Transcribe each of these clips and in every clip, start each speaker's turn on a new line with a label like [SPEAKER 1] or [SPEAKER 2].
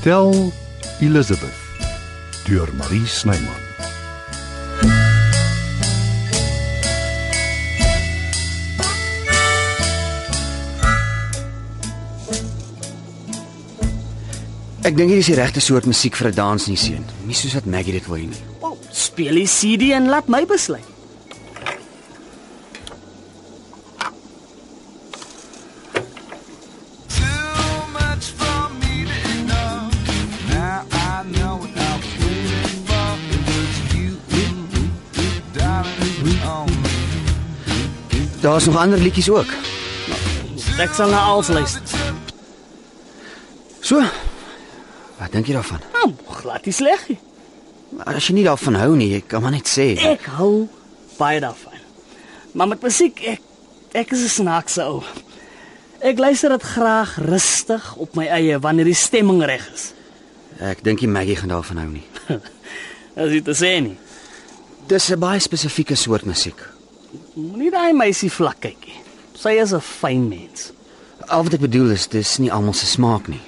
[SPEAKER 1] Stel Elizabeth deur Marie Snyman.
[SPEAKER 2] Ek dink hier is die regte soort musiek vir 'n dans nie seun. Nie soos wat Maggie dit wil hê nie.
[SPEAKER 3] Oh, speel die CD en laat my besluit.
[SPEAKER 4] Too much for me to ignore. Now I know what I was waiting for. It was you, darling, it was only
[SPEAKER 2] Daar's nog ander liedjies ook.
[SPEAKER 3] Ek sal na alles luister.
[SPEAKER 2] So. Wat dink jy daarvan?
[SPEAKER 3] Ah, glad nie sleg nie.
[SPEAKER 2] As jy nie daarvan hou nie, jy kan maar net sê.
[SPEAKER 3] Ek hou baie daarvan. Maar met musiek ek ek is 'n snaakse ou. Ek luister dit graag rustig op my eie wanneer die stemming reg is.
[SPEAKER 2] Ek dink nie Maggie gaan daarvan hou nie.
[SPEAKER 3] As jy dit sê nie.
[SPEAKER 2] Dis 'n baie spesifieke soort musiek.
[SPEAKER 3] Moenie daai meisie vlak kyk nie. Sy is 'n fyn mens.
[SPEAKER 2] Al wat ek bedoel is dis nie almal se smaak nie.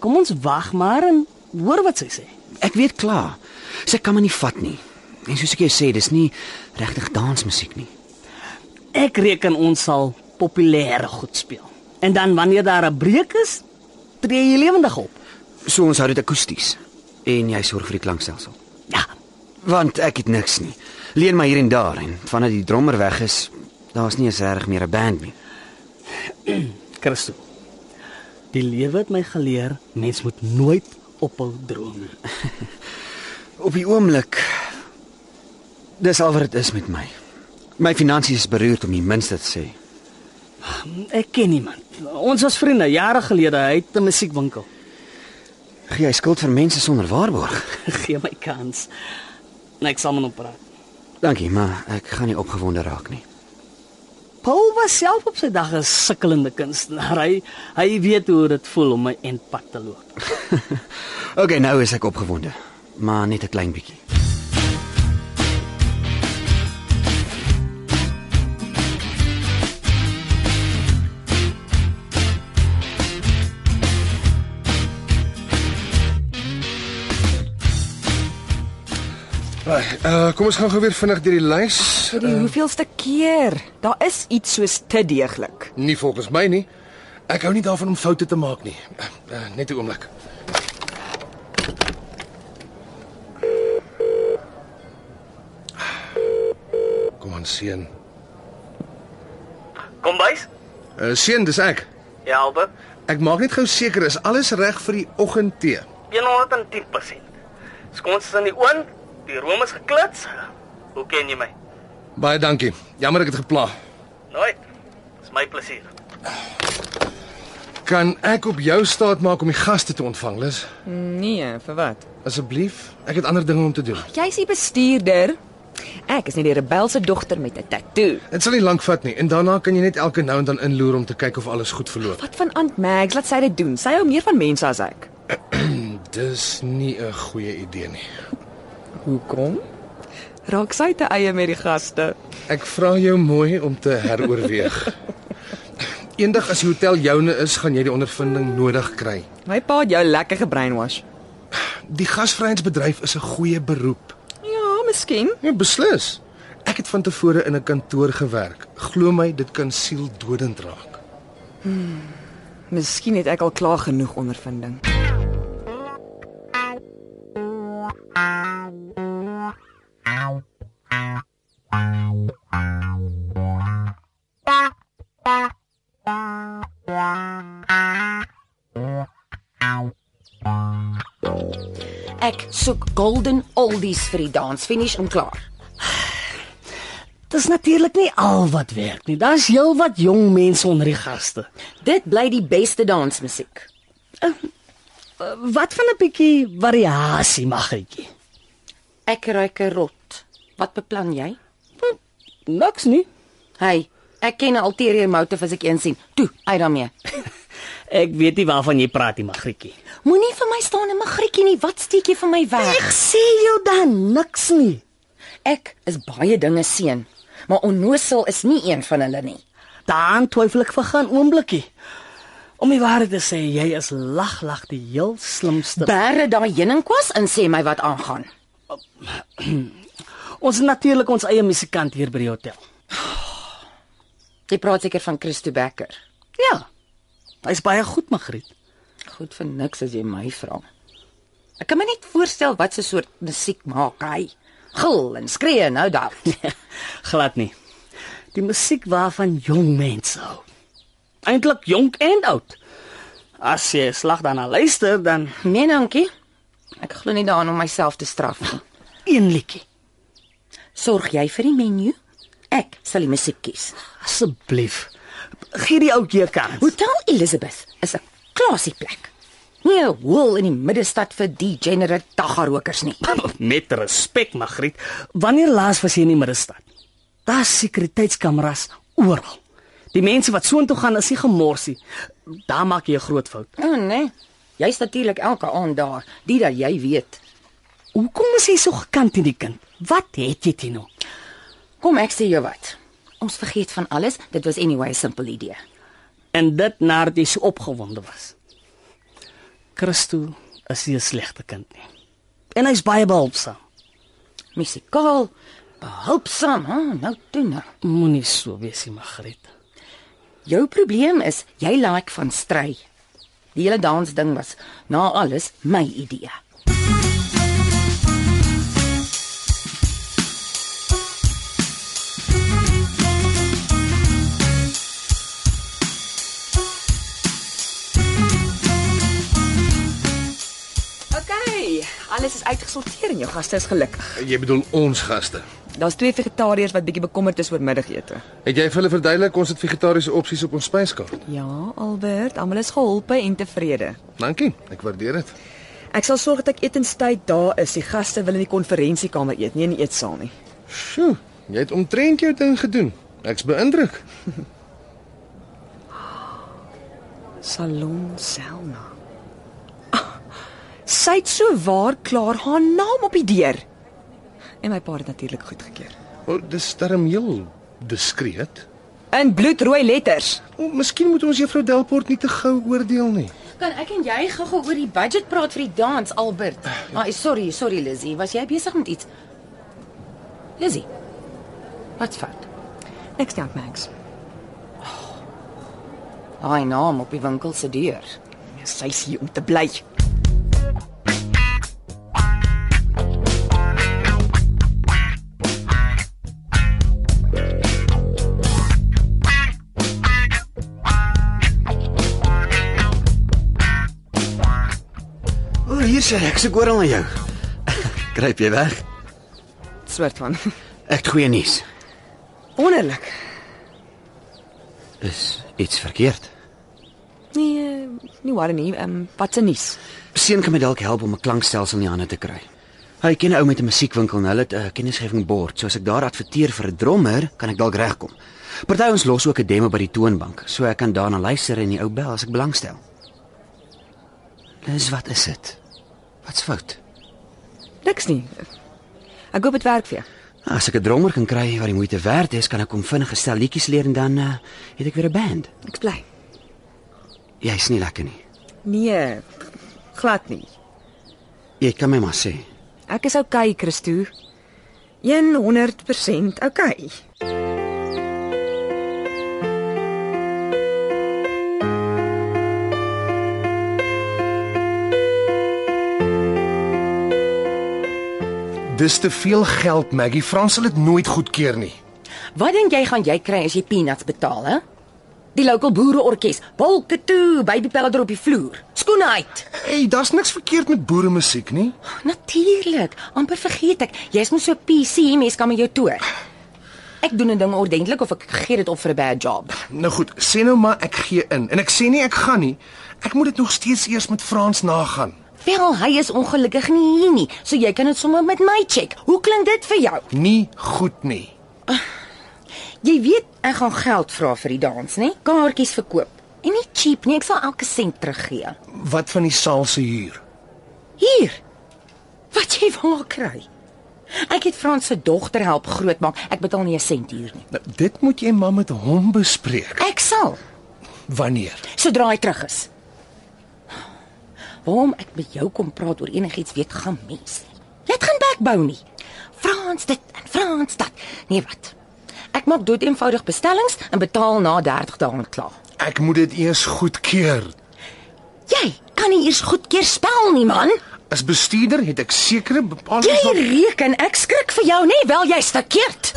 [SPEAKER 3] Kom ons wag maar en hoor wat sy sê.
[SPEAKER 2] Ek weet klaar. Sy kan my nie vat nie. En soos ek jou sê, dis nie regtig dansmusiek nie.
[SPEAKER 3] Ek reken ons sal populêre goed speel. En dan wanneer daar 'n breek is, tree jy lewendig op.
[SPEAKER 2] So ons hou dit akoesties en jy sorg vir die klankstelsel.
[SPEAKER 3] Ja,
[SPEAKER 2] Want ek het niks nie. Leen my hier en daar en vandat die drummer weg is, daar's nie eens regtig meer 'n band nie.
[SPEAKER 3] Christo. Die lewe het my geleer mens moet nooit ophou droom nie.
[SPEAKER 2] Op die oomblik dis al wat dit is met my. My finansies is beroerd om die minste te sê.
[SPEAKER 3] Ek ken iemand. Ons was vriende jare gelede. Hy het 'n musiekwinkel.
[SPEAKER 2] Gee jy skuld vir mense sonder waarborg?
[SPEAKER 3] Gee my kans. Nee, ek sal met hom praat.
[SPEAKER 2] Dankie, maar ek gaan nie opgewonde raak nie.
[SPEAKER 3] Paul was self op sy dag 'n sukkelende kunstenaar. Hy hy weet hoe dit voel om 'n eindpad te loop.
[SPEAKER 2] Okay, nou is ek opgewonde, maar net 'n klein bietjie.
[SPEAKER 5] Right, uh, kom ons gaan gou weer vinnig deur die lys. Eh,
[SPEAKER 6] Vir die hoeveelste keer? Daar is iets soos te deeglik.
[SPEAKER 5] Nie volgens my nie. Ek hou nie daarvan om foute te maak nie. Uh, uh, net 'n oomblik. Kom aan seun.
[SPEAKER 3] Kom bys?
[SPEAKER 5] Uh, seun, dis ek.
[SPEAKER 3] Ja, Albert.
[SPEAKER 5] Ek maak net gou seker is alles reg vir die oggendtee.
[SPEAKER 3] 110%. Skons is in die oond, die room is geklits. Hoe ken jy my?
[SPEAKER 5] Baie dankie. Jammer ek het gepla.
[SPEAKER 3] Nooit. Dis my plesier.
[SPEAKER 5] Kan ek op jou staat maak om die gaste te ontvang, Lis?
[SPEAKER 6] Nee, vir wat?
[SPEAKER 5] Asseblief, ek het ander dinge om te doen.
[SPEAKER 6] Jy's die bestuurder. Ek is nie die rebelse dogter met 'n tatoo.
[SPEAKER 5] Dit sal nie lank vat nie en daarna kan jy net elke nou en dan inloer om te kyk of alles goed verloop.
[SPEAKER 6] Wat van Aunt Mags? Laat sy dit doen. Sy hou meer van mense as ek.
[SPEAKER 5] Dis nie 'n goeie idee nie.
[SPEAKER 6] Hoekom? Raak sy te eie met die gaste.
[SPEAKER 5] Ek vra jou mooi om te heroorweeg. Eendag as die hotel joune is, gaan jy die ondervinding nodig kry.
[SPEAKER 6] My pa het jou lekker gebrainwash.
[SPEAKER 5] Die gasvryheidsbedryf is 'n goeie beroep.
[SPEAKER 6] Ja, miskien.
[SPEAKER 5] Ja, beslis. Ek het van tevore in 'n kantoor gewerk. Glo my, dit kan sieldodend raak.
[SPEAKER 6] Miskien het ek al klaar genoeg ondervinding.
[SPEAKER 7] Ek soek golden oldies vir die dansfinish en klaar.
[SPEAKER 3] Dis natuurlik nie al wat werk nie. Daar's heelwat jong mense onder die gaste.
[SPEAKER 7] Dit bly die beste dansmusiek.
[SPEAKER 3] Wat van 'n bietjie variasie mag ek?
[SPEAKER 7] Ek ruik 'n rot. Wat beplan jy?
[SPEAKER 3] Niks nie.
[SPEAKER 7] Hey, ek ken 'n ulterior motive as ek een sien. Toe, uit daarmee.
[SPEAKER 3] Ek weet nie waarvan jy praat nie, Magrietjie.
[SPEAKER 7] Moenie vir my staan en my griekie nie. Wat steek jy van my weg?
[SPEAKER 3] sê jou dan niks nie.
[SPEAKER 7] Ek is baie dinge seën, maar onnosel is nie een van hulle nie.
[SPEAKER 3] Daan twyfel ek vir gaan oomblikkie. Om die waarheid te sê, jy is lag lag die heel slimste.
[SPEAKER 7] Bære daai heuningkwas en sê my wat aangaan.
[SPEAKER 3] ons het natuurlik ons eie musikant hier by die hotel.
[SPEAKER 7] Jy praat seker van Christo Becker.
[SPEAKER 3] Ja. Hy's baie goed, Magriet.
[SPEAKER 7] Goed vir niks as jy my vra. Ek kan my net voorstel wat 'n soort musiek maak hy. Gil en skree nou daar.
[SPEAKER 3] Glad nie. Die musiek waarvan jong mense hou. Eintlik jonk en oud. As jy slag daarna luister, dan
[SPEAKER 7] Nee, dankie. Ek glo nie daaraan om myself te straf nie.
[SPEAKER 3] een liedjie.
[SPEAKER 7] Sorg jy vir die menu? Ek sal die musiek kies.
[SPEAKER 3] Asseblief. Gee die ou keer kans.
[SPEAKER 7] Hotel Elizabeth is 'n klasie plek. Nie 'n hol in die middestad vir degenerate daggarokers nie.
[SPEAKER 3] Met respek, Magriet. Wanneer laas was jy in die middestad? Daar's sekuriteitskameras oral. Die mense wat soontoe gaan is nie gemorsie. Daar maak jy 'n groot fout.
[SPEAKER 7] O oh, nee. Jy's natuurlik elke aand daar, dit dat jy weet.
[SPEAKER 3] Hoekom is jy so gekant teen die kind? Wat het jy teen hom?
[SPEAKER 7] Kom ek sê jou wat. Ons vergeet van alles. Dit was anyway 'n simpel idee.
[SPEAKER 3] En dit nadat jy so opgewonde was. Christo is nie 'n slegte kind nie. En hy's baie behulpsaam.
[SPEAKER 7] Musikaal, behulpsaam, hè? Nou toe nou.
[SPEAKER 3] Moenie so wees nie, Magriet.
[SPEAKER 7] Jou probleem is jy like van stry. Die hele dansding was na alles my idee.
[SPEAKER 6] Okay, alles is uitgesorteer en jou gaste is gelukkig.
[SPEAKER 5] Jy bedoel ons gaste.
[SPEAKER 6] Daar's twee vegetariërs wat bietjie bekommerd is oor middagete.
[SPEAKER 5] Het jy vir hulle verduidelik ons het vegetariese opsies op ons spyskaart?
[SPEAKER 6] Ja, Albert, almal is geholpe en tevrede.
[SPEAKER 5] Dankie, ek waardeer dit.
[SPEAKER 6] Ek sal sorg dat ek etenstyd daar is. Die gaste wil in die konferensiekamer eet, nie in die eetsaal nie.
[SPEAKER 5] Sjoe, jy het omtrent jou ding gedoen. Ek's beïndruk.
[SPEAKER 6] Salon Selma. Ah, Sy het so waar klaar haar naam op die deur. En my pa het natuurlik goedgekeur.
[SPEAKER 5] O, oh, dis darm heel diskreet.
[SPEAKER 6] In bloedrooi letters.
[SPEAKER 5] O, oh, miskien moet ons juffrou Delport nie te gou oordeel nie.
[SPEAKER 7] Kan ek en jy gou-gou oor die budget praat vir die dans, Albert? Ah, sorry, sorry Lizzy, was jy besig met iets? Lizzy. Wat fout?
[SPEAKER 6] Ek stel Max.
[SPEAKER 7] Daai naam op die winkel se deur.
[SPEAKER 6] Ja, Sy is hier om te bly.
[SPEAKER 2] O, oh, hier sê ek soek oral na jou. Gryp jy weg?
[SPEAKER 6] Soort van.
[SPEAKER 2] Ek het goeie nuus.
[SPEAKER 6] Wonderlik.
[SPEAKER 2] Is iets verkeerd?
[SPEAKER 6] Nee, nie waar nie. Ehm um, wat se nuus?
[SPEAKER 2] Seun kan my dalk help om 'n klankstelsel in die hande te kry. Hy ken 'n ou met 'n musiekwinkel en hulle het 'n kennisgewing bord. So as ek daar adverteer vir 'n drummer, kan ek dalk regkom. Party ons los ook 'n demo by die toonbank, so ek kan daarna luister en die ou bel as ek belangstel. Dis wat is dit? Wat's fout?
[SPEAKER 6] Niks nie. Ek hoop dit werk vir jou.
[SPEAKER 2] Nou, as ek 'n drummer kan kry wat die moeite werd is, kan ek hom vinnig gestel liedjies leer en dan uh, het ek weer 'n band.
[SPEAKER 6] Ek's bly.
[SPEAKER 2] Jy's nie lekker nie.
[SPEAKER 6] Nee, glad nie.
[SPEAKER 2] Jy kan my maar sê.
[SPEAKER 6] Ek is okay, Christo. 100% okay.
[SPEAKER 5] Dis te veel geld, Maggie. Frans sal dit nooit goedkeur nie.
[SPEAKER 7] Wat dink jy gaan jy kry as jy peanuts betaal, hè? Die lokale boereorkes, wolke toe, baby pelder op die vloer, skoene uit.
[SPEAKER 5] Hey, daar's niks verkeerd met boere musiek nie.
[SPEAKER 7] Natuurlik, amper vergeet ek. Jy's mos so PC, mens kan met jou toer. Ek doen 'n ding ordentlik of ek gee dit op vir 'n bad job.
[SPEAKER 5] Nou goed, sê nou maar ek gee in en ek sê nie ek gaan nie. Ek moet dit nog steeds eers met Frans nagaan.
[SPEAKER 7] Wel, hy is ongelukkig nie hier nie, so jy kan dit sommer met my check. Hoe klink dit vir jou?
[SPEAKER 5] Nie goed nie.
[SPEAKER 7] Jy weet, ek gaan geld vra vir die dans, nê? Kaartjies verkoop. En nie cheap nie, ek sal elke sent teruggee.
[SPEAKER 5] Wat van die saal se huur?
[SPEAKER 7] Hier. Wat jy wil kry. Ek het Frans se dogter help grootmaak. Ek betaal nie 'n sent huur nie.
[SPEAKER 5] Nou, dit moet jy maar met hom bespreek.
[SPEAKER 7] Ek sal.
[SPEAKER 5] Wanneer?
[SPEAKER 7] sodra hy terug is. Waarom ek met jou kom praat oor enigiets weet gaan mens nie. Jy het geen backbone nie. Frans dit en Frans dat. Nee wat? Ek maak dood eenvoudig bestellings en betaal na 30 dae en klaar.
[SPEAKER 5] Ek moet dit eers goedkeur.
[SPEAKER 7] Jy kan nie eers goedkeur spel nie man.
[SPEAKER 5] As bestuurder het ek sekere bepaalde
[SPEAKER 7] Jy reken ek skrik vir jou nê, wel jy's verkeerd.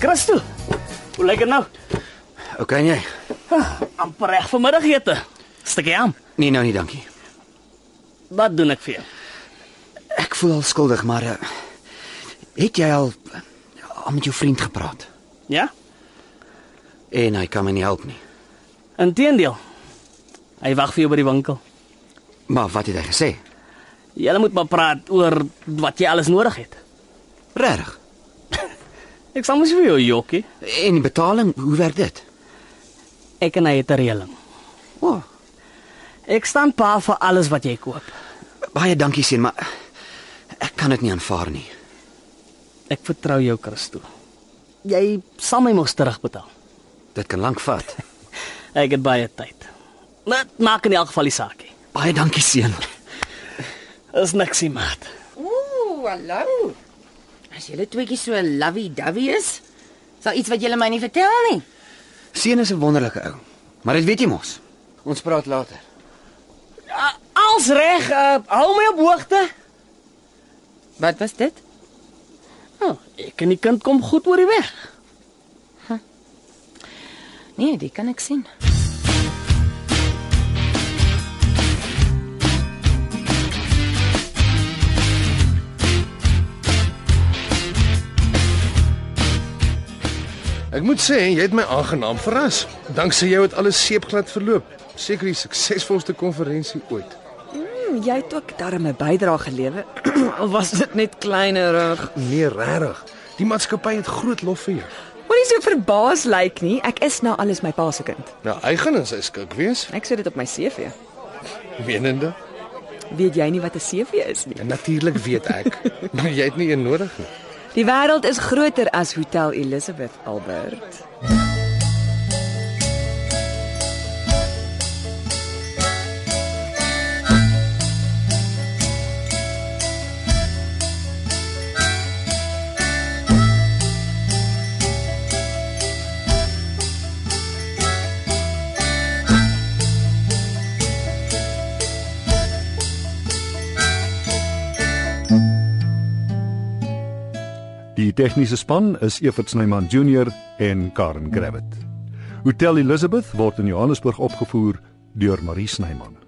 [SPEAKER 3] Christo. Hoe lyk dit nou?
[SPEAKER 2] Okay, en jy.
[SPEAKER 3] amper reg vir middagete. Stukkie aan.
[SPEAKER 2] Nee, nou nie, dankie.
[SPEAKER 3] Wat doen ek vir jou?
[SPEAKER 2] Ek voel al skuldig, maar eh, het jy al eh, al met jou vriend gepraat?
[SPEAKER 3] Ja?
[SPEAKER 2] En hy kan my nie help nie.
[SPEAKER 3] Inteendeel. Hy wag vir jou by die winkel.
[SPEAKER 2] Maar wat het hy gesê?
[SPEAKER 3] Jy moet maar praat oor wat jy alles nodig het.
[SPEAKER 2] Regtig?
[SPEAKER 3] Ek sal mos vir jou jokkie.
[SPEAKER 2] En die betaling, hoe werk dit?
[SPEAKER 3] Ek en hy het 'n reëling.
[SPEAKER 2] O, oh,
[SPEAKER 3] Ek staan pa vir alles wat jy koop.
[SPEAKER 2] baie dankie seun, maar eh, ek kan dit nie aanvaar nie.
[SPEAKER 3] Ek vertrou jou, Christo. Jy sal my mos terugbetaal.
[SPEAKER 2] Dit kan lank vat.
[SPEAKER 3] Ek het baie tyd. Maar dit maak in elk geval die saakie.
[SPEAKER 2] Baie dankie seun.
[SPEAKER 3] Is niks nie, maat.
[SPEAKER 7] Ooh, hallo. As julle tweeetjie so lovey-dovey is, sal iets wat julle my nie vertel nie.
[SPEAKER 2] Seun is 'n wonderlike ou. Maar dit weet jy mos. Ons praat later.
[SPEAKER 3] Als reg, uh, hou my op hoogte.
[SPEAKER 7] Wat was dit?
[SPEAKER 3] Oh, ek en die kind kom goed oor die weg.
[SPEAKER 7] Nee, dit kan ek sien.
[SPEAKER 5] Ek moet sê jy het my aangenaam verras. Danksy jou het alles seepglad verloop. Seker die suksesvolste konferensie ooit.
[SPEAKER 6] Hm, jy het ook darm 'n bydrae gelewer. Al was dit net kleinerig.
[SPEAKER 5] Nee, regtig. Die maatskappy het groot lof vir jou.
[SPEAKER 6] Moenie so verbaas lyk nie. Ek is nou alles my pa se kind.
[SPEAKER 5] Nou, hy gaan in sy skik wees,
[SPEAKER 6] Ek sit dit op my CV.
[SPEAKER 5] menende.
[SPEAKER 6] Weet jy nie wat 'n CV is nie?
[SPEAKER 5] En natuurlik weet ek, maar jy het nie een nodig nie.
[SPEAKER 6] Die wêreld is groter as Hotel Elizabeth Albert.
[SPEAKER 1] Die tegniese span is Evert Snyman Junior en Karen Gravett. Hotel Elizabeth word in Johannesburg opgevoer deur Marie Snyman.